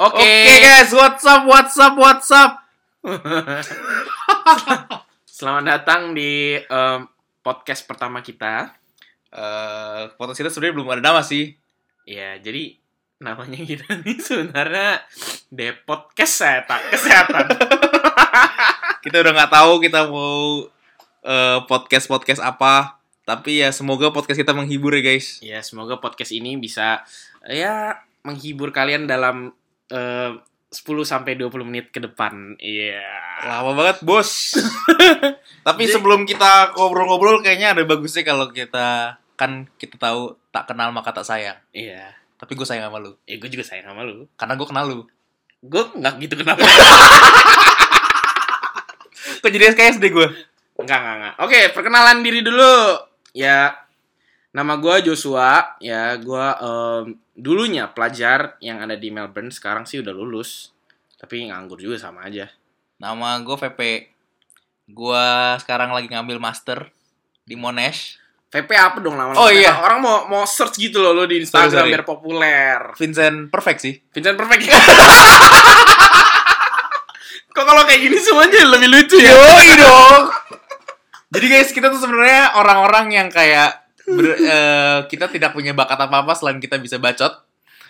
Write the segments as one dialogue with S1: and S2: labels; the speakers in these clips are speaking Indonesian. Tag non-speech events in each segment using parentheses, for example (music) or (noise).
S1: Oke.
S2: guys, what's up, what's up, what's up? Selamat datang di em, podcast pertama kita.
S1: Eh, podcast kita sebenarnya belum ada nama sih.
S2: Ya, jadi namanya kita (laughs) nih sebenarnya Depot Kesehatan. Kesehatan.
S1: Kita udah nggak tahu kita mau podcast podcast apa. Tapi ya semoga podcast kita menghibur ya guys.
S2: ya, semoga podcast ini bisa eh, ya menghibur kalian dalam eh, 10 sampai 20 menit ke depan. Iya.
S1: Lama banget
S2: (laughs)
S1: bos. tapi
S2: Jadi-
S1: sebelum kita ngobrol-ngobrol kayaknya ada bagusnya kalau kita kan kita tahu tak kenal maka tak sayang.
S2: Iya.
S1: Tapi gue sayang sama lu
S2: Ya, gue juga sayang sama lu.
S1: karena gue kenal lu.
S2: Gue nggak gitu kenapa.
S1: Kok jadi SKSD gue?
S2: Enggak, enggak, enggak. Oke, perkenalan diri dulu. Ya, nama gue Joshua. Ya, gue em, dulunya pelajar yang ada di Melbourne. Sekarang sih udah lulus. Tapi nganggur juga sama aja.
S1: Nama gue VP. Gue sekarang lagi ngambil master di Monash.
S2: VP apa dong lama-lama?
S1: Oh, iya.
S2: Orang mau mau search gitu loh lo di
S1: Sorry,
S2: Instagram
S1: sorry.
S2: biar populer.
S1: Vincent perfect sih.
S2: Vincent Perfect. (laughs) Kok kalau kayak gini semuanya lebih lucu ya?
S1: Yoi dong. Iya. Jadi guys, kita tuh sebenarnya orang-orang yang kayak ber- eh, kita tidak punya bakat apa-apa selain kita bisa bacot.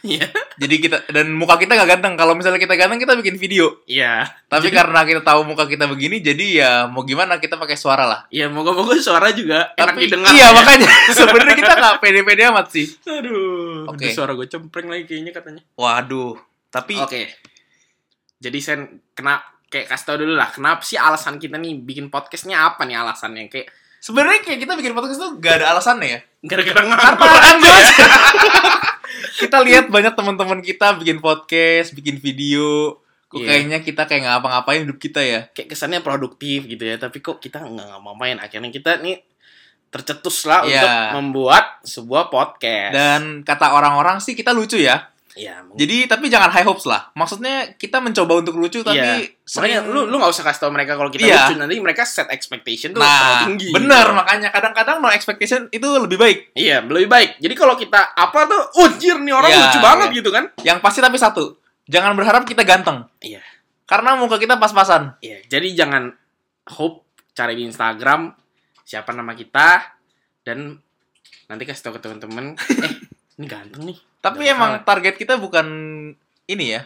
S2: Iya.
S1: Jadi kita dan muka kita nggak ganteng. Kalau misalnya kita ganteng, kita bikin video.
S2: Iya.
S1: Tapi karena kita tahu muka kita begini, jadi ya mau gimana kita pakai suara lah.
S2: Iya, moga-moga suara juga enak
S1: Tapi
S2: didengar. ya.
S1: iya makanya (laughs) sebenarnya kita nggak pede-pede amat sih.
S2: Aduh. udah
S1: Oke.
S2: Suara gue cempreng lagi kayaknya katanya.
S1: Waduh. Tapi
S2: Oke. Jadi Sen, kena kayak kasih tau dulu lah, kenapa sih alasan kita nih bikin podcastnya apa nih alasannya? Kayak
S1: sebenarnya kayak kita bikin podcast tuh gak ada alasannya ya.
S2: (laughs) gara-gara
S1: Apa
S2: nganggur.
S1: apaan, Jos?
S2: Iya.
S1: (laughs) kita lihat banyak teman-teman kita bikin podcast, bikin video.
S2: Iya.
S1: Kok kayaknya kita kayak nggak ngapa-ngapain hidup kita ya.
S2: Kayak kesannya produktif gitu ya, tapi kok kita nggak ngapa-ngapain. Akhirnya kita nih tercetus lah
S1: Iya.
S2: untuk membuat sebuah podcast.
S1: Dan kata orang-orang sih kita lucu ya.
S2: Iya, mungkin.
S1: Jadi tapi jangan high hopes lah. Maksudnya kita mencoba untuk lucu tapi
S2: Iya. makanya
S1: sering-
S2: lu lu nggak usah kasih tau mereka kalau kita
S1: Iya.
S2: lucu nanti mereka set expectation tuh terlalu
S1: nah
S2: tinggi.
S1: bener makanya kadang-kadang no expectation itu lebih baik.
S2: Iya, lebih baik. Jadi kalau kita apa tuh, ujir nih orang
S1: Iya,
S2: lucu banget
S1: iya.
S2: gitu kan?
S1: Yang pasti tapi satu, jangan berharap kita ganteng.
S2: Iya.
S1: Karena muka kita pas-pasan.
S2: Iya, jadi jangan hope cari di Instagram siapa nama kita dan nanti kasih tau ke
S1: (laughs)
S2: teman-teman. eh, ini ganteng nih.
S1: Tapi
S2: Jangan
S1: emang target kita bukan ini ya,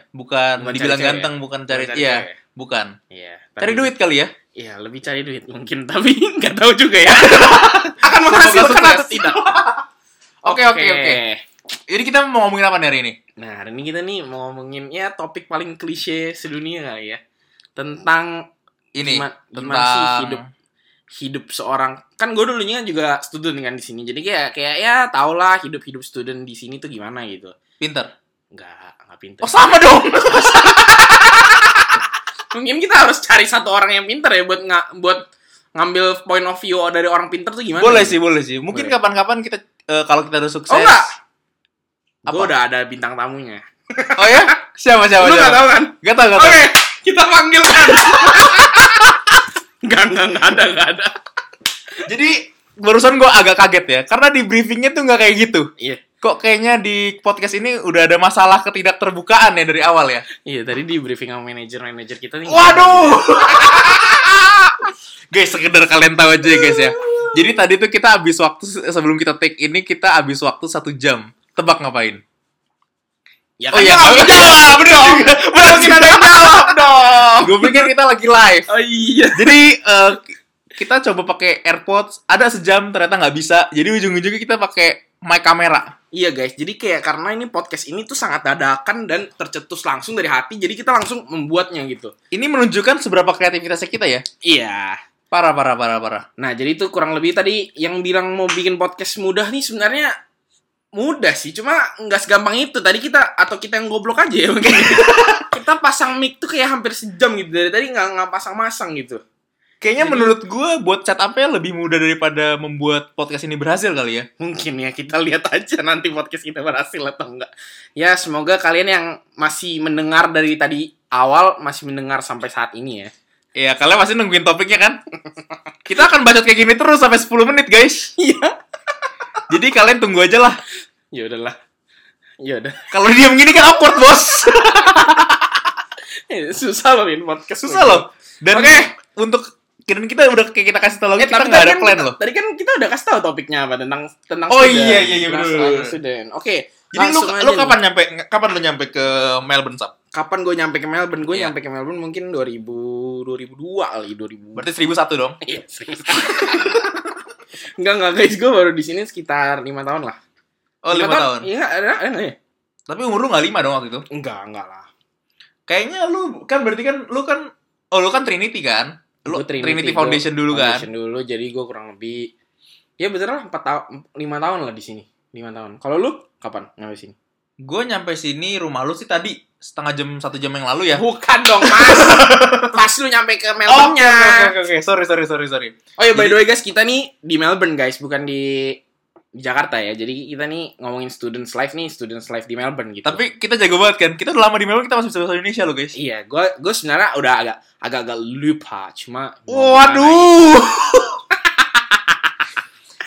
S2: Bukan ya?
S1: bukan,
S2: cari
S1: dibilang
S2: cewek ya?
S1: ganteng, bukan cari,
S2: Cari
S1: iya,
S2: cewek.
S1: bukan.
S2: Iya.
S1: Cari
S2: tapi-
S1: duit kali ya.
S2: Iya, lebih cari duit mungkin, (laughs) tapi nggak tahu juga
S1: (laughs)
S2: ya. Akan
S1: Semoga
S2: menghasilkan
S1: sukses.
S2: atau (laughs) tidak.
S1: Oke oke oke. Jadi kita mau ngomongin apa nih hari ini?
S2: Nah, hari ini kita nih mau ngomongin ya topik paling klise sedunia kali ya. Tentang
S1: Ini
S2: gima- gimana
S1: tentang
S2: sih hidup hidup seorang kan gue dulunya juga student kan di sini jadi kayak kayak ya tau lah hidup hidup student di sini tuh gimana gitu
S1: pinter.
S2: nggak nggak pinter
S1: Oh sama dong.
S2: mungkin kita harus cari satu orang yang pinter ya buat nggak buat ngambil point of view dari orang pinter tuh gimana
S1: boleh sih boleh sih. Mungkin
S2: Boleh.
S1: kapan-kapan kita eh, kalau kita udah sukses.
S2: Oh, enggak.
S1: Apa?
S2: gue udah ada bintang tamunya
S1: Oh ya? Siapa siapa?
S2: lu
S1: siapa?
S2: nggak tahu kan
S1: Gak tau gak
S2: oke
S1: tau.
S2: kita panggil kan nggak nggak nggak ada nggak ada
S1: Jadi barusan gue agak kaget ya, karena di briefingnya tuh nggak kayak gitu.
S2: iya
S1: Kok kayaknya di podcast ini udah ada masalah ketidakterbukaan ya dari awal ya?
S2: iya tadi di briefing sama manajer manajer kita nih
S1: Waduh. (laughs) guys, sekedar kalian tahu aja ya guys ya. Jadi tadi tuh kita habis waktu se- sebelum kita take ini kita habis waktu satu jam. Tebak ngapain?
S2: ya
S1: Oh
S2: kan
S1: iya,
S2: gua nggak
S1: kamu jawab dong. (laughs) Belum kita ada yang jawab dong. Gue pikir kita lagi live.
S2: oh iya
S1: Jadi eh, kita coba pakai AirPods, ada sejam ternyata nggak bisa. Jadi ujung-ujungnya kita pakai mic kamera.
S2: Iya guys, jadi kayak karena ini podcast ini tuh sangat dadakan dan tercetus langsung dari hati, jadi kita langsung membuatnya gitu.
S1: Ini menunjukkan seberapa kreativitasnya kita ya.
S2: Iya.
S1: Parah, parah, parah, parah.
S2: Nah, jadi itu kurang lebih tadi yang bilang mau bikin podcast mudah nih sebenarnya mudah sih, cuma nggak segampang itu. Tadi kita atau kita yang goblok aja ya (laughs) mungkin. kita pasang mic tuh kayak hampir sejam gitu dari tadi nggak nggak pasang-masang gitu.
S1: Kayaknya
S2: Jadi-
S1: menurut gue buat setupnya lebih mudah daripada membuat podcast ini berhasil kali ya.
S2: Mungkin ya kita lihat aja nanti podcast kita berhasil atau enggak. Ya semoga kalian yang masih mendengar dari tadi awal masih mendengar sampai saat ini ya.
S1: Ya, kalian masih nungguin topiknya (laughs) kan? kita akan bacot kayak gini terus sampai 10 menit guys.
S2: Iya.
S1: Jadi kalian tunggu aja lah.
S2: ya udahlah Ya (laughs) udah.
S1: Kalau dia begini kan awkward, Bos.
S2: Eh, Susah loh bikin podcast.
S1: Susah loh. Dan
S2: Oke.
S1: untuk kirain kita udah kayak kita kasih tau lagi,
S2: Eh,
S1: kita
S2: tapi
S1: nggak
S2: tadi
S1: ada
S2: kan
S1: plan
S2: kita-
S1: loh.
S2: Tadi kan kita udah kasih tahu topiknya apa tentang tentang
S1: Oh,
S2: student.
S1: iya, iya, iya,
S2: Tentang
S1: bener,
S2: soal
S1: bener.
S2: student. Oke.
S1: Jadi lu
S2: langsung aja
S1: lu
S2: nih.
S1: kapan nyampe kapan lu nyampe ke Melbourne Sab?
S2: Kapan gue nyampe ke Melbourne? Gue
S1: Iya.
S2: nyampe ke Melbourne mungkin 2000 2002 kali 2000.
S1: Berarti 1001 dong.
S2: Iya, serius. Enggak, enggak guys, gue baru di sini sekitar 5 tahun lah.
S1: Oh, 5 tahun.
S2: Iya, ada ada enggak ya?
S1: Tapi umur lu nggak 5 dong waktu itu.
S2: Enggak, enggak lah.
S1: Kayaknya lu kan berarti kan lu kan oh lu kan Trinity kan? Lu
S2: Gua
S1: Trinity,
S2: gua
S1: Foundation dulu kan?
S2: Foundation dulu, jadi gue kurang lebih Ya bener lah 4 tahun 5 tahun lah di sini. 5 tahun. Kalau lu kapan nyampe sini?
S1: Gue nyampe sini rumah lu sih tadi setengah jam satu jam yang lalu ya. Oh,
S2: Bukan dong, (laughs) Mas. Pas lu nyampe ke
S1: oke
S2: Melbourne-nya.
S1: oke oke, oke. sorry sorry sorry sorry.
S2: Oh ya by
S1: Jadi-
S2: the way guys, kita nih di Melbourne guys, bukan di di Jakarta ya. Jadi kita nih ngomongin students life nih, students life di Melbourne gitu.
S1: Tapi kita jago banget kan? Kita udah lama di Melbourne kita masih bisa bahasa Indonesia loh guys.
S2: iya, gue gue sebenarnya udah agak agak agak lupa, cuma ya?
S1: (laughs) Waduh.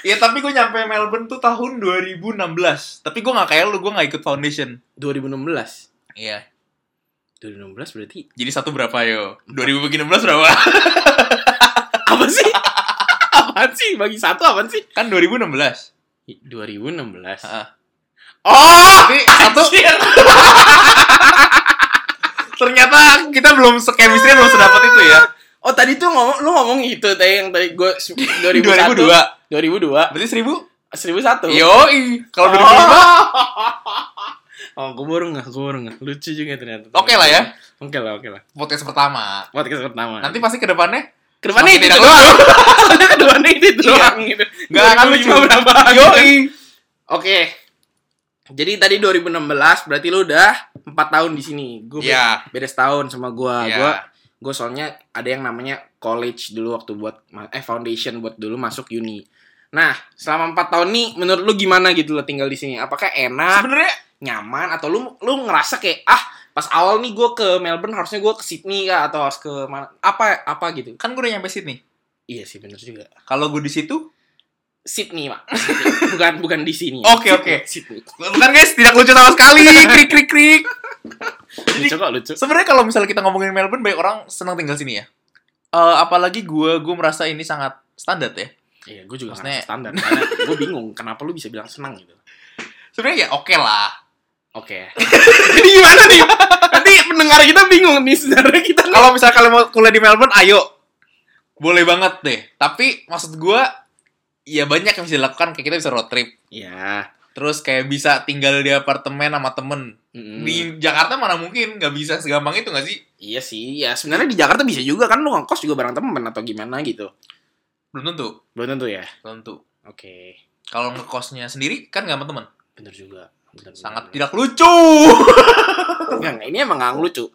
S1: Iya tapi gue nyampe Melbourne tuh tahun 2016 Tapi gue gak kayak lu, gue gak ikut foundation
S2: 2016.
S1: Iya
S2: 2016 berarti (laughs)
S1: Jadi satu berapa yo? 2016 berapa?
S2: apa sih? (laughs) apaan sih? Bagi satu apaan sih?
S1: Kan 2016
S2: I- 2016.
S1: Heeh.
S2: Oh,
S1: Tapi satu
S2: anjir.
S1: (laughs) ternyata kita belum sekemistri belum sedapat itu ya
S2: Oh, tadi tuh ngomong lu ngomong itu tadi yang tadi gue (laughs) 2001.
S1: 2002
S2: 2002.
S1: Berarti Oh. 1000?
S2: 1001.
S1: Yoi Kalau
S2: 2005.
S1: 2005
S2: Oh, gue baru nggak, gue baru nggak. Lucu juga ternyata.
S1: Oke lah ya
S2: Oke lah, oke lah.
S1: Podcast pertama
S2: Podcast pertama.
S1: Nanti pasti ke depannya
S2: kedepannya
S1: Semakin
S2: itu
S1: tidak
S2: doang. (laughs) Soalnya kedepannya itu doang gitu.
S1: (laughs) Nggak akan
S2: 2005
S1: lucu.
S2: berapa? gitu.
S1: Yoi
S2: Oke. Jadi tadi 2016 berarti lu udah 4 tahun di sini. Gue
S1: Iya.
S2: beda setahun sama gua.
S1: Iya.
S2: Nah, Gua gue soalnya ada yang namanya college dulu waktu buat ma- eh foundation buat dulu masuk uni. Nah, selama 4 tahun nih menurut lu gimana gitu lo tinggal di sini? Apakah enak?
S1: Sebenernya
S2: nyaman atau lu lu ngerasa kayak ah pas awal nih gue ke Melbourne harusnya gue ke Sydney kah atau harus ke mana apa apa gitu
S1: Kan gue udah nyampe Sydney
S2: iya sih bener juga
S1: Kalau gue di situ
S2: Sydney pak
S1: (laughs)
S2: Sydney. bukan bukan di sini
S1: Oke, oke.
S2: Sydney
S1: Bukan guys Tidak lucu sama sekali Krik krik krik
S2: lucu kok lucu
S1: Sebenarnya kalau misalnya kita ngomongin Melbourne Banyak orang senang tinggal sini ya Eh, Apalagi gue Gue merasa ini sangat standar ya
S2: iya gue juga
S1: Maksudnya-
S2: ngerasa standar karena gue bingung kenapa lu bisa bilang senang gitu
S1: Sebenarnya ya oke lah
S2: oke (laughs) jadi gimana nih nanti pendengar kita bingung nih saudara kita
S1: kalau misalnya kalian mau kuliah di Melbourne, ayo. Boleh banget deh. Tapi maksud gua ya banyak yang bisa dilakukan. Kayak kita bisa road trip.
S2: ya
S1: Terus kayak bisa tinggal di apartemen sama temen.
S2: mm,
S1: Di Jakarta mana mungkin. Gak bisa segampang itu gak sih?
S2: iya sih ya sebenarnya di Jakarta bisa juga kan lu ngekos juga bareng temen atau gimana gitu
S1: Belum tentu.
S2: belum tentu ya
S1: Belum tentu.
S2: oke
S1: Kalau ngekosnya sendiri kan gak sama temen.
S2: bener juga Bener, bener,
S1: Sangat
S2: bener.
S1: tidak lucu. (laughs)
S2: Enggak, enggak. ini emang gak lucu.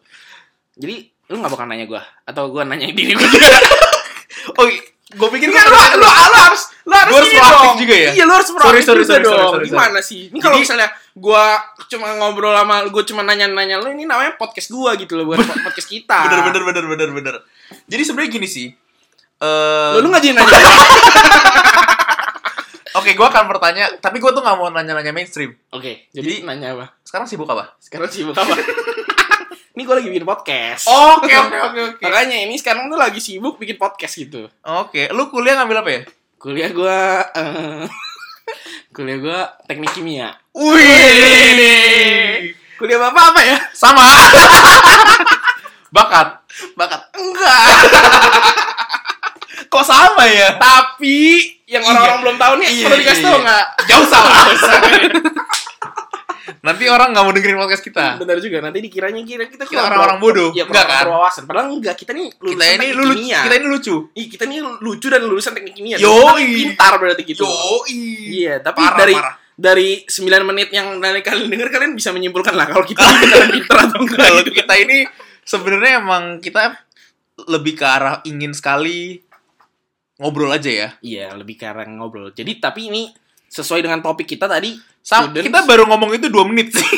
S2: Jadi lu gak bakal nanya gua atau gua nanya diri (laughs) gua juga.
S1: Oh, gue pikir
S2: Enggak, lu, lu, lu harus lu harus
S1: Gua harus
S2: ini
S1: proaktif
S2: dong.
S1: juga ya?
S2: Iya, lu harus proaktif
S1: Sorry, sorry,
S2: juga
S1: sorry,
S2: dong.
S1: sorry, sorry,
S2: Gimana sih? Ini kalau
S1: Jadi-
S2: misalnya gua cuma ngobrol sama gua cuma nanya-nanya lu ini namanya podcast gua gitu loh, bukan (laughs) po- podcast kita.
S1: bener bener bener bener bener. Jadi sebenarnya gini sih. Eh,
S2: Lu, lu gak jadi nanya.
S1: Oke, gua akan bertanya. Tapi gua tuh gak mau nanya-nanya mainstream.
S2: Oke,
S1: jadi-
S2: jadi, nanya apa?
S1: Sekarang sibuk apa?
S2: Sekarang sibuk
S1: (laughs)
S2: apa? ini gua lagi bikin podcast.
S1: Oke, oke, oke, oke.
S2: Makanya ini sekarang tuh lagi sibuk bikin podcast gitu.
S1: Oke, lu kuliah ngambil apa ya?
S2: Kuliah gua
S1: (laughs)
S2: eh, kuliah gua teknik kimia.
S1: Wih,
S2: Kuliah bapak apa ya?
S1: sama. (laughs) Bakat,
S2: Bakat enggak.
S1: kok sama ya?
S2: Tapi yang orang-orang
S1: Iya.
S2: belum tahu nih
S1: Iya,
S2: perlu dikasih
S1: iya,
S2: tahu
S1: iya.
S2: enggak?
S1: (laughs) Jauh salah. Nanti orang nggak mau dengerin podcast kita.
S2: Benar juga nanti dikiranya kira kita
S1: Kita orang-orang bodoh,
S2: Ya,
S1: enggak
S2: enggak
S1: kan?
S2: kan? Berwawasan. Padahal enggak, kita nih lulusan
S1: Kita ini
S2: teknik
S1: lu lucu,
S2: kimia.
S1: kita ini lucu.
S2: Ih, kita nih lucu dan lulusan teknik kimia.
S1: Yoi.
S2: Kita pintar berarti gitu.
S1: Yoi.
S2: Iya, tapi
S1: Parah,
S2: dari
S1: parah.
S2: dari 9 menit yang nanti kalian denger kalian bisa menyimpulkan lah kalau kita
S1: (laughs)
S2: beneran pintar atau enggak
S1: Kalau
S2: gitu.
S1: kita ini sebenarnya emang kita lebih ke arah ingin sekali ngobrol aja ya.
S2: Iya, lebih karang ngobrol. Jadi tapi ini sesuai dengan topik kita tadi (laughs)
S1: Sam,
S2: students- (laughs)
S1: kita baru ngomong itu dua menit sih.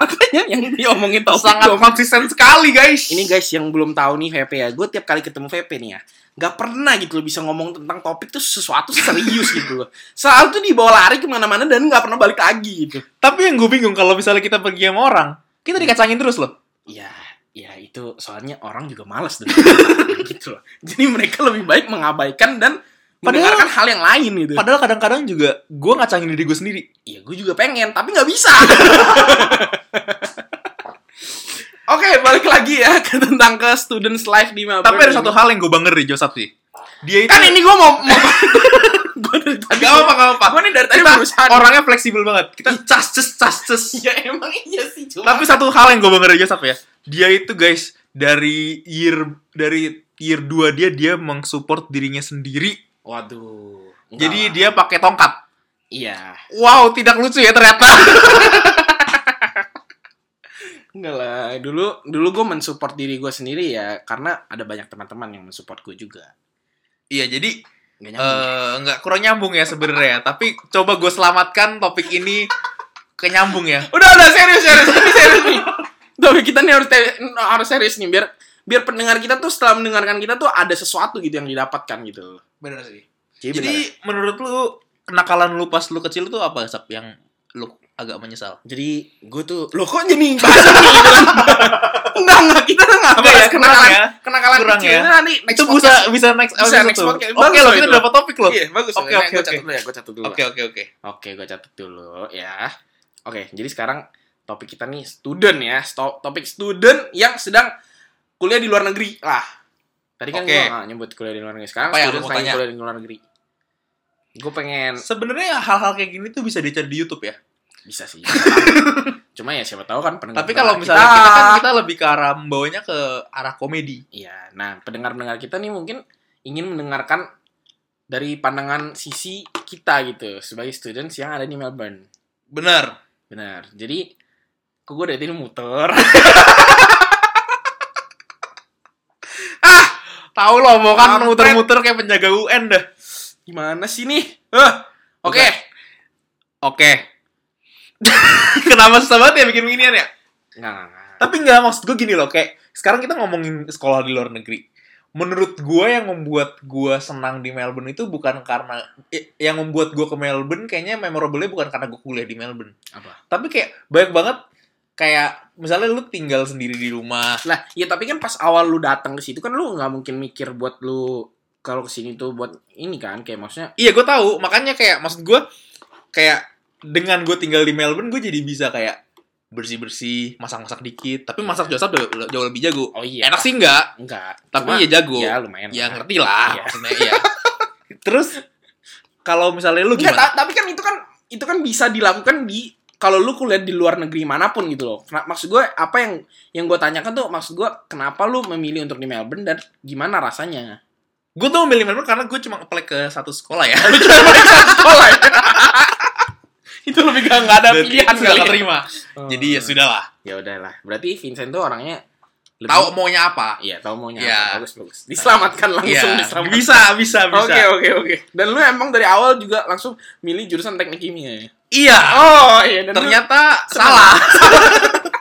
S2: makanya yang ini diomongin Iya, topik
S1: sangat
S2: dong.
S1: konsisten sekali guys
S2: Ini guys yang belum tahu nih VP ya, gue tiap kali ketemu VP nih ya, nggak pernah gitu loh bisa ngomong tentang topik tuh sesuatu serius gitu loh. Selalu tuh dibawa lari kemana-mana dan nggak pernah balik lagi gitu.
S1: tapi yang gue bingung kalau misalnya kita pergi sama orang kita
S2: Hmm.
S1: dikacangin terus loh
S2: Ya, ya itu soalnya orang juga males deh. (laughs) gitu loh. Jadi mereka lebih baik mengabaikan dan
S1: Padahal-
S2: mendengarkan hal yang lain gitu.
S1: padahal kadang-kadang juga gue ngacangin diri gue sendiri
S2: Iya, gue juga pengen, tapi nggak bisa. (laughs) Oke, balik lagi ya ke tentang ke students life di Melbourne.
S1: tapi ada satu hal yang gue banger di Joseph sih dia itu
S2: kan ini gue (laughs) mau, mau gue dari tadi
S1: Gak apa-apa, gak apa-apa.
S2: Gue nih dari tadi
S1: Kita
S2: berusaha.
S1: orangnya fleksibel banget kita cas cas cas cas
S2: ya emang iya sih cuma.
S1: tapi satu hal yang gue banger di Joseph ya dia itu guys dari year dari year 2 dia dia mengsupport dirinya sendiri
S2: waduh. enggak
S1: jadi
S2: lah.
S1: dia pakai tongkat
S2: iya.
S1: wow tidak lucu ya ternyata
S2: Enggak lah, dulu dulu gue mensupport diri gue sendiri ya karena ada banyak teman-teman yang mensupport gue juga.
S1: (laughs) iya jadi
S2: Gak nyambung.
S1: Eh, nggak kurang nyambung ya sebenarnya tapi coba gue selamatkan topik ini ke nyambung ya
S2: Udah udah serius serius ini serius nih. Tapi kita nih harus te- harus serius nih biar biar pendengar kita tuh setelah mendengarkan kita tuh ada sesuatu gitu yang didapatkan gitu.
S1: bener sih
S2: Jadi,
S1: jadi
S2: bener.
S1: menurut lu kenakalan lu pas lu kecil tuh apa sap yang lu agak menyesal
S2: jadi gue tuh lo kok jadi bahas ini gitu kan? (laughs) Enggak enggak kita tuh enggak apa
S1: Kurang
S2: ya
S1: ya,
S2: kenakalan
S1: kurang
S2: kenakalan
S1: Kurang
S2: kecil
S1: ya.
S2: nanti next
S1: itu bisa
S2: podcast.
S1: bisa next
S2: Bisa
S1: episode
S2: next
S1: tuh.
S2: podcast.
S1: oke
S2: Bagus
S1: loh
S2: loh
S1: kita
S2: itu.
S1: dapat topik loh
S2: Iya, bagus.
S1: Oke,
S2: Oke,
S1: oke,
S2: gue
S1: oke.
S2: catat dulu ya, gue catat dulu.
S1: oke oke oke
S2: Oke, gue catat dulu ya. Oke, jadi sekarang topik kita nih student ya, Sto- topik student yang sedang kuliah di luar negeri lah. Tadi kan
S1: Oke.
S2: gue nggak nyebut kuliah di luar negeri. Sekarang
S1: Apa yang
S2: student
S1: lu mau
S2: pengen
S1: tanya?
S2: kuliah di luar negeri. Gue pengen
S1: sebenarnya hal-hal kayak gini tuh bisa dicari di YouTube ya
S2: bisa sih. bisa lah.
S1: (laughs)
S2: Cuma ya siapa tahu kan pendengar.
S1: tapi kalau misalnya kita, kan kita lebih ke arah membawanya ke arah komedi
S2: Iya, nah pendengar-pendengar kita nih mungkin ingin mendengarkan dari pandangan sisi kita gitu sebagai students yang ada di Melbourne.
S1: bener
S2: Benar. Jadi kok gue dari tadi muter.
S1: tahu lo mau kan
S2: Kampret.
S1: muter-muter kayak penjaga UN dah
S2: Gimana sih nih? Eh, oke.
S1: Oke. oke (laughs) kenapa susah banget ya bikin beginian ya
S2: Enggak, enggak, enggak.
S1: Tapi nggak maksud gue gini loh, kayak sekarang kita ngomongin sekolah di luar negeri. Menurut gue yang membuat gue senang di Melbourne itu bukan karena eh, yang membuat gue ke Melbourne kayaknya memorable-nya bukan karena gue kuliah di Melbourne.
S2: Apa?
S1: Tapi kayak banyak banget kayak misalnya lu tinggal sendiri di rumah.
S2: Lah, ya tapi kan pas awal lu datang ke situ kan lu nggak mungkin mikir buat lu kalau ke sini tuh buat ini kan kayak maksudnya
S1: Iya gue tahu, makanya kayak maksud gue kayak dengan gue tinggal di Melbourne gue jadi bisa kayak bersih-bersih, masak-masak
S2: Iya.
S1: dikit. Tapi masak Joseph jauh, jauh lebih jago.
S2: oh iya.
S1: Enak sih enggak,
S2: Enggak. Cuma,
S1: tapi ya jago.
S2: ya lumayan.
S1: ya
S2: lah.
S1: ngerti lah
S2: Iya.
S1: maksudnya iya (laughs) terus kalau misalnya lu
S2: Enggak,
S1: gimana
S2: ta- tapi kan itu kan itu kan bisa dilakukan di kalau lu kuliah di luar negeri manapun gitu loh. Kena- maksud gue apa yang yang gue tanyakan tuh maksud gue kenapa lu memilih untuk di Melbourne dan gimana rasanya? (laughs)
S1: gue tuh memilih Melbourne karena gue cuma apply ke satu sekolah ya
S2: Sekolah. ya? itu lebih gak, nggak ada
S1: Dan
S2: pilihan
S1: itu nggak
S2: kali ya.
S1: keterima jadi ya sudahlah
S2: ya udahlah berarti Vincent tuh orangnya lebih-
S1: tahu maunya apa
S2: iya tahu maunya
S1: Iya.
S2: apa. bagus bagus diselamatkan langsung
S1: Iya,
S2: diselamatkan
S1: bisa bisa
S2: (laughs)
S1: bisa
S2: oke oke oke dan lu emang dari awal juga langsung milih jurusan teknik kimia ya
S1: iya
S2: oh iya dan ternyata
S1: ternyata
S2: Senang.
S1: salah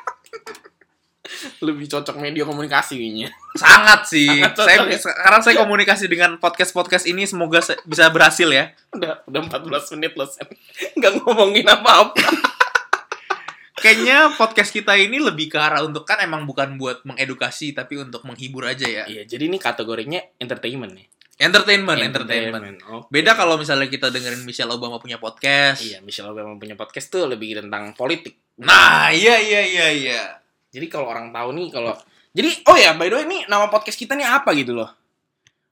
S2: lebih cocok media komunikasi kayaknya (laughs)
S1: sangat sih
S2: Sangat cocok
S1: saya
S2: ya.
S1: sekarang saya komunikasi dengan podcast podcast ini semoga se- bisa berhasil ya
S2: udah udah 14 menit loh Sen (laughs) nggak ngomongin apa apa
S1: kayaknya podcast kita ini lebih ke arah untuk kan emang bukan buat mengedukasi tapi untuk menghibur aja ya
S2: iya jadi ini kategorinya entertainment nih
S1: entertainment entertainment
S2: oh
S1: Beda kalau misalnya kita dengerin Michelle Obama punya podcast.
S2: iya Michelle Obama punya podcast tuh lebih tentang politik
S1: Nah, iya iya iya iya.
S2: Jadi kalau orang tahu nih kalau jadi oh ya by the way ini nama podcast kita nih apa gitu loh?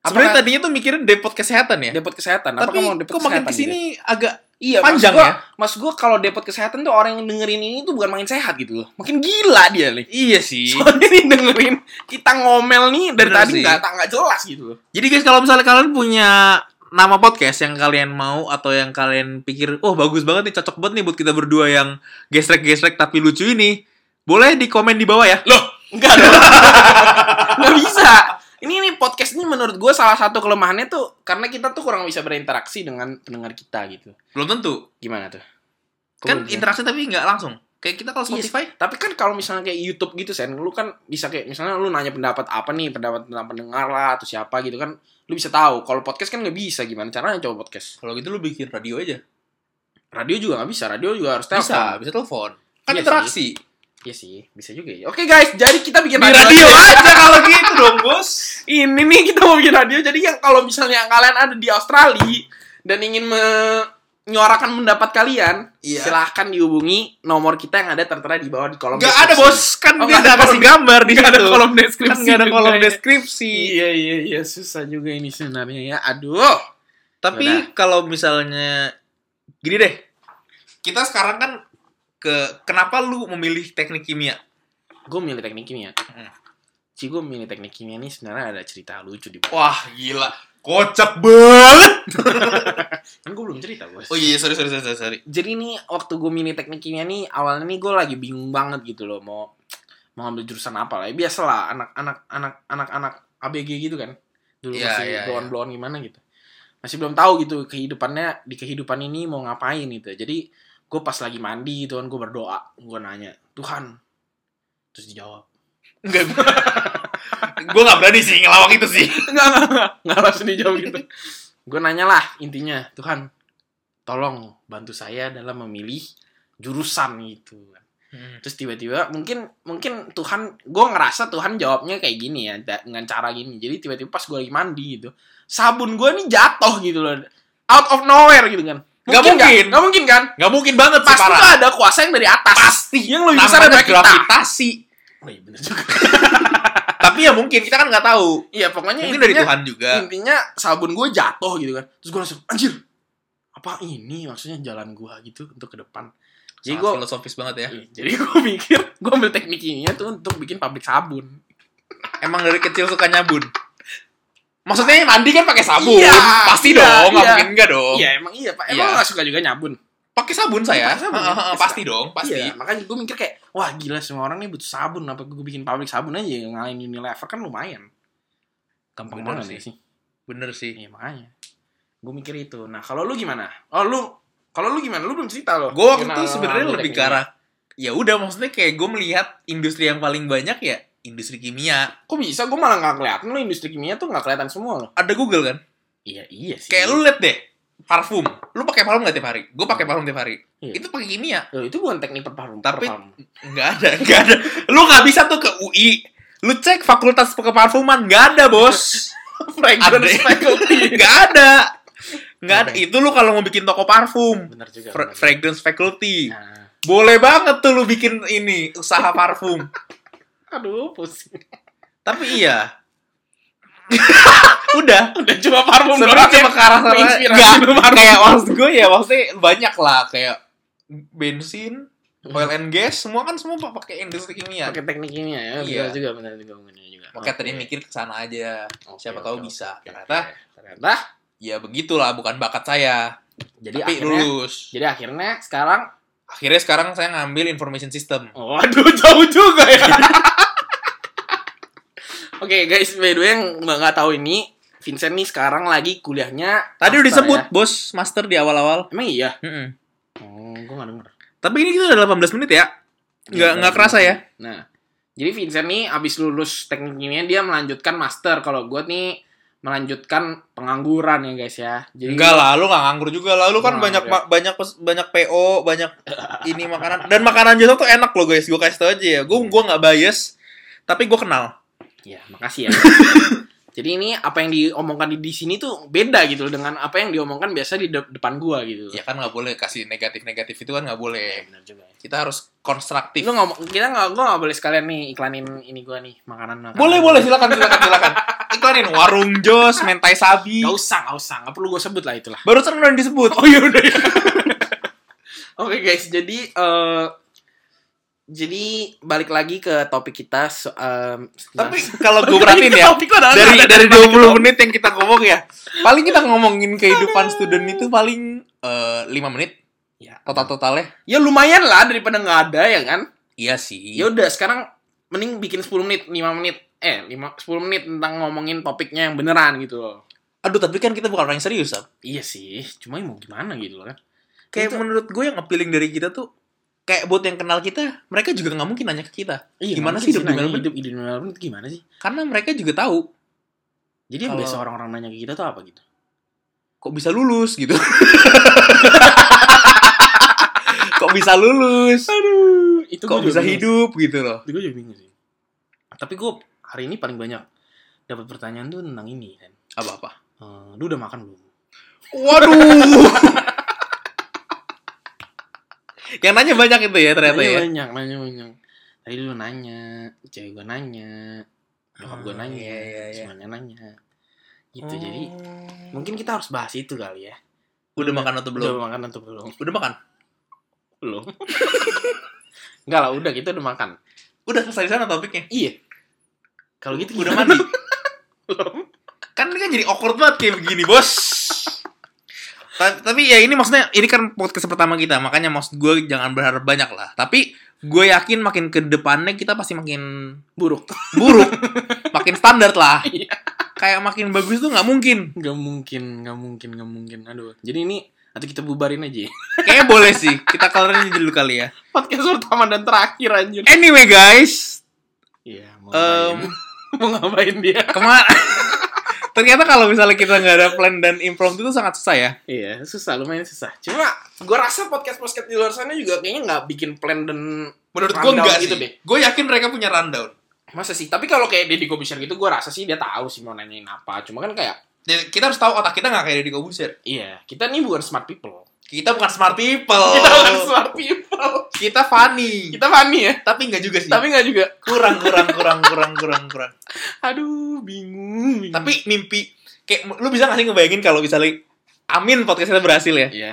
S1: Sebenarnya
S2: Apakah
S1: tadinya tuh mikirin depot kesehatan ya.
S2: depot kesehatan?
S1: Tapi
S2: Apakah mau
S1: kok makin
S2: gitu?
S1: kesini agak
S2: Iya, maksud
S1: panjang
S2: gua,
S1: ya?
S2: Mas gua kalau depot kesehatan tuh orang yang dengerin ini tuh bukan makin sehat gitu loh. Makin gila dia nih.
S1: Iya sih.
S2: Soalnya nih dengerin kita ngomel nih dari
S1: Bener
S2: tadi
S1: sih.
S2: nggak tak nggak jelas gitu loh.
S1: Jadi guys, kalau misalnya kalian punya nama podcast yang kalian mau atau yang kalian pikir, oh bagus banget nih, cocok banget nih buat kita berdua yang gesrek-gesrek tapi lucu ini, boleh di komen di bawah ya.
S2: Loh, enggak dong. (laughs) Nggak bisa. Ini nih podcast ini menurut gua salah satu kelemahannya tuh karena kita tuh kurang bisa berinteraksi dengan pendengar kita gitu.
S1: Belum tentu.
S2: Gimana tuh?
S1: Kan
S2: Kelebihan.
S1: interaksi tapi nggak langsung. Kayak kita kalau
S2: Iya,
S1: Spotify
S2: Tapi kan kalau misalnya kayak YouTube gitu Sen, lu kan bisa kayak misalnya lu nanya pendapat apa nih, pendapat tentang pendengar lah atau siapa gitu kan, lu bisa tahu. Kalau podcast kan nggak bisa gimana caranya coba podcast.
S1: kalau gitu lu bikin radio aja.
S2: Radio juga nggak bisa, radio juga harus telepon.
S1: Bisa, bisa telepon. Kan
S2: Iya
S1: interaksi.
S2: Iya sih, bisa juga ya. Oke guys, jadi kita bikin
S1: Di radio aja kalau gitu (laughs) dong, Bos.
S2: Ini nih kita mau bikin radio. Jadi yang kalau misalnya kalian ada di Australia dan ingin menyuarakan pendapat kalian,
S1: Iya.
S2: silahkan dihubungi nomor kita yang ada tertera di bawah di kolom.
S1: Gak
S2: deskripsi.
S1: ada, Bos. Kan
S2: Oh, nggak
S1: dia nggak
S2: ada
S1: kasih
S2: kolom-
S1: gambar di
S2: Nggak ada
S1: situ.
S2: kolom
S1: Kan
S2: deskripsi.
S1: nggak ada kolom
S2: juga ya.
S1: deskripsi.
S2: Iya iya iya susah juga ini sebenarnya ya. Aduh.
S1: Tapi kalau misalnya gini deh, kita sekarang kan ke kenapa lu memilih teknik kimia?
S2: Gue milih teknik kimia.
S1: Hmm.
S2: Ci gue milih teknik kimia ini sebenarnya ada cerita lucu di bawah.
S1: Wah gila, kocak banget.
S2: Kan gue belum cerita bos.
S1: Oh iya sorry sorry sorry sorry, sorry.
S2: Jadi nih waktu gue milih teknik kimia nih awalnya nih gue lagi bingung banget gitu loh mau mau ambil jurusan apa lah. Ya, Biasalah anak-anak anak anak-anak ABG gitu kan. Dulu
S1: Iya,
S2: masih
S1: iya,
S2: blon blon gimana gitu. Masih belum tahu gitu kehidupannya di kehidupan ini mau ngapain gitu. Jadi gue pas lagi mandi Tuhan gue berdoa gue nanya Tuhan terus dijawab (laughs)
S1: Enggak gue gue nggak berani sih ngelawak itu sih.
S2: Enggak, enggak, enggak. Enggak langsung dijawab gitu. Gue nanya lah intinya. Tuhan, tolong bantu saya dalam memilih jurusan gitu.
S1: Hmm.
S2: Terus tiba-tiba mungkin mungkin Tuhan, gue ngerasa Tuhan jawabnya kayak gini ya. da- Dengan cara gini. Jadi tiba-tiba pas gue lagi mandi gitu. Sabun gue nih jatuh gitu loh. Out of nowhere gitu kan.
S1: Nggak mungkin.
S2: Gak, mungkin kan.
S1: Gak mungkin banget sih
S2: Pasti
S1: parah.
S2: tuh ada kuasa yang dari atas.
S1: Pasti.
S2: Yang lebih besar
S1: Namanya
S2: daripada kita.
S1: gravitasi.
S2: Oh iya bener juga.
S1: Tapi ya mungkin kita kan nggak tahu.
S2: Iya pokoknya
S1: Mungkin dari
S2: intinya-
S1: Tuhan juga.
S2: intinya sabun gue jatuh gitu kan terus gue langsung anjir apa ini maksudnya jalan gue gitu untuk ke depan jadi
S1: Sangat
S2: gue
S1: filosofis banget ya.
S2: (laughs) jadi gue mikir gue ambil teknik kimia tuh untuk bikin pabrik sabun
S1: Emang dari kecil suka nyabun. Maksudnya mandi kan pakai sabun.
S2: Iya,
S1: Pasti
S2: iya,
S1: dong, nggak
S2: iya.
S1: mungkin enggak dong.
S2: iya emang iya pak
S1: Iya.
S2: emang gak suka juga nyabun
S1: Pakai sabun saya.
S2: Pakai sabun.
S1: Heeh, heeh, pasti dong, pasti.
S2: Iya, makanya gue mikir kayak wah gila semua orang nih butuh sabun apa gue bikin pabrik sabun aja yang ngalahin Unilever kan lumayan gampang
S1: Bener
S2: banget sih. sih
S1: Bener sih.
S2: iya makanya gue mikir itu nah kalau lu gimana oh lu kalau lu gimana lu belum cerita loh
S1: Gue waktu itu
S2: Gimana lu
S1: sebenarnya
S2: ngambil
S1: lebih
S2: teknik
S1: ke arah ya udah maksudnya kayak gue melihat industri yang paling banyak ya industri kimia.
S2: Kok bisa? Gue malah gak kelihatan lo industri kimia tuh gak kelihatan semua loh.
S1: Ada Google kan?
S2: Iya, iya sih.
S1: Kayak lu liat deh parfum. Lu pakai parfum gak tiap hari? Gue pakai parfum tiap hari.
S2: Iya.
S1: Itu pakai kimia.
S2: Loh, itu bukan teknik perparum.
S1: Tapi- Nggak ada, (laughs) nggak ada. Lu nggak bisa tuh ke UI. Lu cek fakultas keparfuman, nggak ada
S2: (laughs)
S1: bos.
S2: fragrance
S1: Ada.
S2: faculty.
S1: Nggak ada. Nggak ada. Itu lu kalau mau bikin toko parfum.
S2: Bener juga.
S1: Fra-
S2: bener.
S1: fragrance faculty.
S2: Nah.
S1: Boleh banget tuh lu bikin ini,
S2: (laughs)
S1: usaha parfum.
S2: Aduh, pusing.
S1: Tapi iya. (laughs) Udah.
S2: Udah cuma parfum
S1: Sebenarnya cuma ke arah sana.
S2: Menginspirasi
S1: Nggak,
S2: lu parfum.
S1: Kayak maksud gue ya, maksudnya banyak lah. Kayak bensin, oil and gas, semua kan semua Hmm. pakai industri kimia.
S2: Pakai teknik kimia ya.
S1: Iya.
S2: Bener juga, bener juga. Bener juga.
S1: Makanya
S2: Oke.
S1: tadi mikir ke sana aja.
S2: Oke,
S1: Siapa
S2: oke,
S1: tahu
S2: oke,
S1: bisa.
S2: oke.
S1: Ternyata
S2: Ternyata.
S1: ya begitulah bukan bakat saya.
S2: Jadi
S1: Tapi
S2: akhirnya.
S1: lulus.
S2: Jadi akhirnya sekarang.
S1: Akhirnya sekarang saya ngambil information system.
S2: Waduh, (laughs) jauh juga ya. Oke guys, by the way yang nggak tahu ini, Vincent nih sekarang lagi kuliahnya.
S1: Tadi
S2: master
S1: udah disebut
S2: ya.
S1: bos master di awal-awal.
S2: Emang iya.
S1: Mm-mm.
S2: Oh, gue gak denger.
S1: Tapi ini kita udah 18 menit ya. Nggak nggak kerasa ya.
S2: Nah, jadi Vincent nih abis lulus teknik kimia dia melanjutkan master. Kalau gue nih melanjutkan pengangguran ya guys ya. Jadi
S1: Enggak lah, lu nggak nganggur juga lah. Lu kan
S2: Nggak
S1: banyak
S2: nganggur
S1: ma- banyak pes- banyak PO, banyak ini makanan. Dan makanan jasa tuh enak loh guys. Gue kasih tau aja ya. Gue gua nggak bias, tapi gue kenal.
S2: Ya, makasih ya. (laughs) jadi ini apa yang diomongkan di, di sini tuh beda gitu loh dengan apa yang diomongkan biasa di de- depan gua gitu.
S1: Ya kan nggak boleh kasih negatif-negatif itu kan nggak
S2: Ya,
S1: boleh.
S2: benar juga. ya.
S1: Kita harus konstruktif.
S2: Lu ngomong kita nggak gua nggak boleh sekalian nih iklanin ini gua nih makanan makanan.
S1: Boleh boleh silakan silakan silakan. Iklanin warung Jos, mentai sabi.
S2: Gak usah, gak usah, gak perlu gue sebut lah itulah.
S1: Barusan udah disebut.
S2: Oh iya udah ya. Oke guys, jadi eh jadi balik lagi ke topik kita. so- em, setelah-
S1: Tapi kalau gue perhatiin
S2: (laughs)
S1: ya,
S2: Topik lo ada-
S1: dari
S2: ada-
S1: dari
S2: ada- ada-
S1: 20 menit yang kita ngomong ya, paling kita ngomongin kehidupan student itu paling eh 5 menit
S2: Ya.
S1: total-totalnya.
S2: Ya lumayan lah daripada nggak ada ya kan.
S1: Iya sih.
S2: Ya udah sekarang mending bikin 10 menit, 5 menit, eh 5 10 menit tentang ngomongin topiknya yang beneran gitu loh.
S1: Aduh, tapi kan kita bukan orang yang serius, Sab.
S2: Iya sih, cuma ya mau gimana gitu loh kan.
S1: Kayak
S2: Itu-
S1: menurut gue yang appealing dari kita tuh kayak buat yang kenal kita, mereka juga nggak mungkin nanya ke kita.
S2: Iya,
S1: Gimana
S2: nggak mungkin
S1: sih hidup di
S2: nanya
S1: Melbourne?
S2: Hidup di Melbourne itu gimana sih?
S1: Karena mereka juga tahu
S2: Jadi yang
S1: Kalau-
S2: biasa orang-orang nanya ke kita tuh apa gitu?
S1: kok bisa lulus gitu. (laughs) kok bisa lulus?
S2: Aduh, itu
S1: Kok bisa hidup gitu loh.
S2: Gue juga bingung sih. Tapi gue hari ini paling banyak dapat pertanyaan tuh tentang ini kan.
S1: Apa-apa.
S2: Eh, lu udah makan belum?
S1: (laughs) Waduh. yang nanya banyak itu ya ternyata
S2: Nanya
S1: ya.
S2: banyak, nanya banyak. Tadi lu nanya, cewek gue nanya, nyokap gue
S1: Ah,
S2: nanya,
S1: iya, iya, iya.
S2: semuanya nanya. Gitu jadi mungkin kita harus bahas itu kali ya.
S1: Oh. udah makan atau belum?
S2: Udah makan atau belum?
S1: Udah makan.
S2: (laughs) Belum. Enggak lah, udah kita udah makan.
S1: Udah selesai di sana topiknya.
S2: Iya. Kalau gitu
S1: Udah
S2: gimana? (laughs)
S1: mandi. kan ini kan jadi awkward banget kayak begini bos Ta- tapi ya ini maksudnya ini kan podcast pertama kita makanya maksud gue jangan berharap banyak lah tapi gue yakin makin ke depannya kita pasti makin
S2: Buruk.
S1: buruk makin standar lah
S2: (laughs) Iya.
S1: kayak makin bagus tuh nggak mungkin
S2: Gak mungkin, gak mungkin, gak mungkin. Aduh. Jadi ini atau kita bubarin aja ya.
S1: kayaknya boleh sih kita kelarin aja dulu kali ya
S2: (laughs) Podcast pertama dan terakhir anjir.
S1: anyway guys
S2: Iya, mau ngapain?
S1: Em.
S2: (laughs) mau ngapain dia?
S1: kemana (laughs) ternyata kalau misalnya kita nggak ada plan dan impromptu itu sangat susah ya
S2: Iya, susah lumayan susah. Cuma gua rasa podcast-podcast di luar sana juga kayaknya nggak bikin plan dan
S1: gua
S2: rundown
S1: nggak
S2: gitu deh.
S1: gue yakin mereka punya rundown
S2: Masa sih? Tapi kalau kayak Deddy Kobisher gitu gua rasa sih dia tahu sih mau nanyain apa. Cuma kan kayak
S1: Dan kita harus tahu otak kita nggak kayak di Corbusier
S2: iya, kita nih bukan smart people.
S1: kita bukan smart people
S2: Kita bukan smart people.
S1: kita funny
S2: Kita funny ya,
S1: tapi nggak juga sih
S2: tapi Hmm. nggak juga.
S1: kurang kurang kurang kurang kurang kurang
S2: Aduh, bingung. bingung.
S1: tapi mimpi kayak lu bisa nggak sih ngebayangin kalau misalnya Amin podcast kita berhasil ya
S2: iya,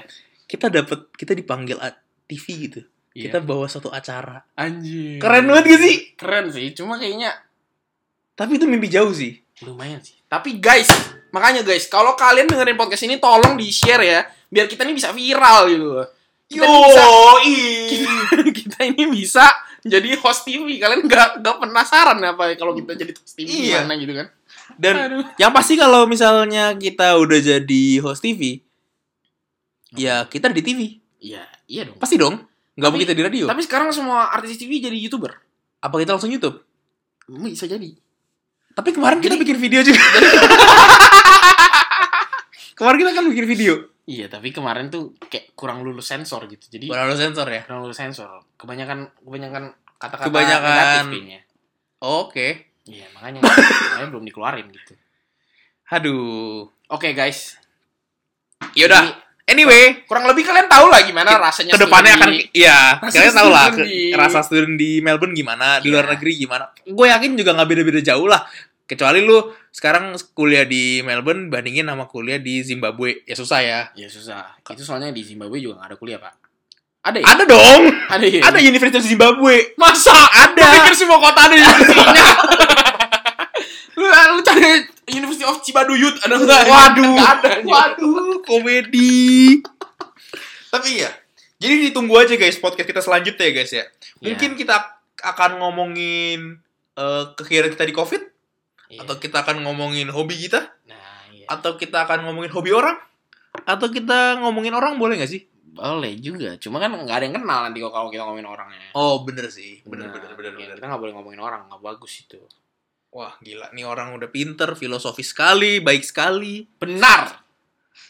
S1: kita dapat kita dipanggil a- TV gitu
S2: iya. Hmm.
S1: kita bawa suatu acara
S2: anjir.
S1: keren banget
S2: gitu.
S1: gak sih
S2: Keren sih, cuma kayaknya
S1: tapi itu mimpi jauh sih
S2: lumayan sih. Tapi guys, makanya guys, kalau kalian dengerin podcast ini tolong di-share ya, biar kita ini bisa viral gitu. loh. (laughs) Kita ini bisa kita ini bisa jadi host TV. Kalian nggak nggak penasaran apa ya kalau kita jadi host TV
S1: Iya.
S2: gimana gitu kan?
S1: dan
S2: Aduh.
S1: yang pasti kalau misalnya kita udah jadi host TV ya kita di TV
S2: Iya, iya dong.
S1: pasti dong nggak mau
S2: Tapi-
S1: kita di radio
S2: Tapi sekarang semua artis TV jadi YouTuber.
S1: apa kita langsung YouTube
S2: Bisa jadi.
S1: tapi kemarin kita bikin video (laughs) juga kemarin kita kan bikin video
S2: Iya, tapi kemarin tuh kayak kurang lulus sensor gitu. Jadi
S1: Bukan harus sensor ya
S2: kurang lulus sensor. Kebanyakan kebanyakan kata-kata
S1: Kebanyakan-
S2: negatif kayaknya.
S1: oke
S2: Iya, makanya makanya belum dikeluarin gitu.
S1: aduh
S2: Oke, guys.
S1: yaudah
S2: Jadi,
S1: anyway
S2: kurang lebih kalian tahu lah gimana rasanya
S1: kedepannya akan
S2: sendiri.
S1: ya
S2: Rasa
S1: kalian tahu lah
S2: student di-
S1: ke- rasa student di Melbourne gimana di
S2: Iya.
S1: luar negeri gimana gue yakin juga nggak beda-beda jauh lah kecuali lu sekarang kuliah di Melbourne bandingin sama kuliah di Zimbabwe ya susah ya
S2: Ya susah. Itu soalnya di Zimbabwe juga gak ada kuliah, Pak. Ada ya?
S1: ada dong
S2: Ada ya?
S1: ada Universitas Zimbabwe
S2: Masa
S1: ada.
S2: Lu pikir semua kota ada
S1: (laughs)
S2: universitasnya? lu, lu cari University of Cibaduyut ada nggak?
S1: Waduh.
S2: Nggak ada. anjing.
S1: waduh komedi tapi ya jadi ditunggu aja guys podcast kita selanjutnya ya guys
S2: Iya.
S1: ya mungkin kita akan ngomongin eh kekhawatiran kita di covid
S2: Iya.
S1: atau kita akan ngomongin hobi kita
S2: Nah, iya.
S1: atau kita akan ngomongin hobi orang atau kita ngomongin orang boleh nggak sih
S2: Boleh juga. Cuma kan nggak ada yang kenal nanti kalau- kalau kita ngomongin orangnya.
S1: oh bener sih bener
S2: Nah,
S1: bener bener,
S2: iya,
S1: bener.
S2: Kita nggak boleh ngomongin orang, nggak bagus itu.
S1: wah gila nih orang udah pinter filosofis sekali baik sekali
S2: Benar.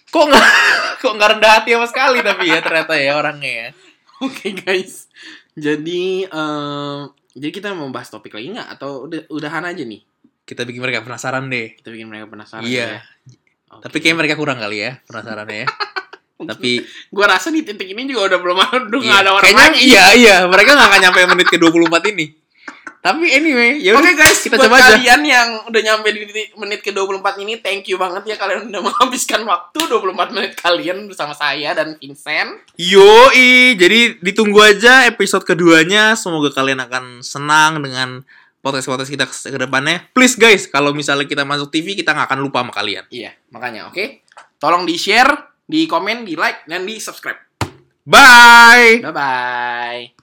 S1: kok nggak (laughs) kok nggak rendah hati sama sekali tapi ya ternyata ya orangnya ya
S2: (laughs) Oke guys. Jadi em, jadi kita mau bahas topik lagi nggak? Atau udah udahan aja nih?
S1: kita bikin mereka penasaran deh
S2: Kita bikin mereka penasaran.
S1: Iya.
S2: ya. Oke.
S1: tapi kayaknya mereka kurang kali ya (laughs) penasarannya ya tapi
S2: gua rasa di titik ini juga udah belum (laughs) ada udah nggak
S1: iya.
S2: ada orang
S1: kayaknya
S2: lagi.
S1: iya iya mereka nggak akan nyampe menit ke 24 ini tapi anyway ya
S2: Oke
S1: udah
S2: guys,
S1: kita
S2: buat
S1: coba aja
S2: kalian yang udah nyampe di titik- menit ke 24 ini, thank you banget ya kalian udah (laughs) menghabiskan waktu 24 menit kalian bersama saya dan Vincent.
S1: Yoi, jadi ditunggu aja episode keduanya. Semoga kalian akan senang dengan podcast-podcast kita ke ke depannya. Please guys, kalau misalnya kita masuk TV, kita nggak akan lupa sama kalian.
S2: Iya, makanya oke. Tolong di-share, di-komen, di-like, dan di-subscribe.
S1: Bye!
S2: Bye-bye.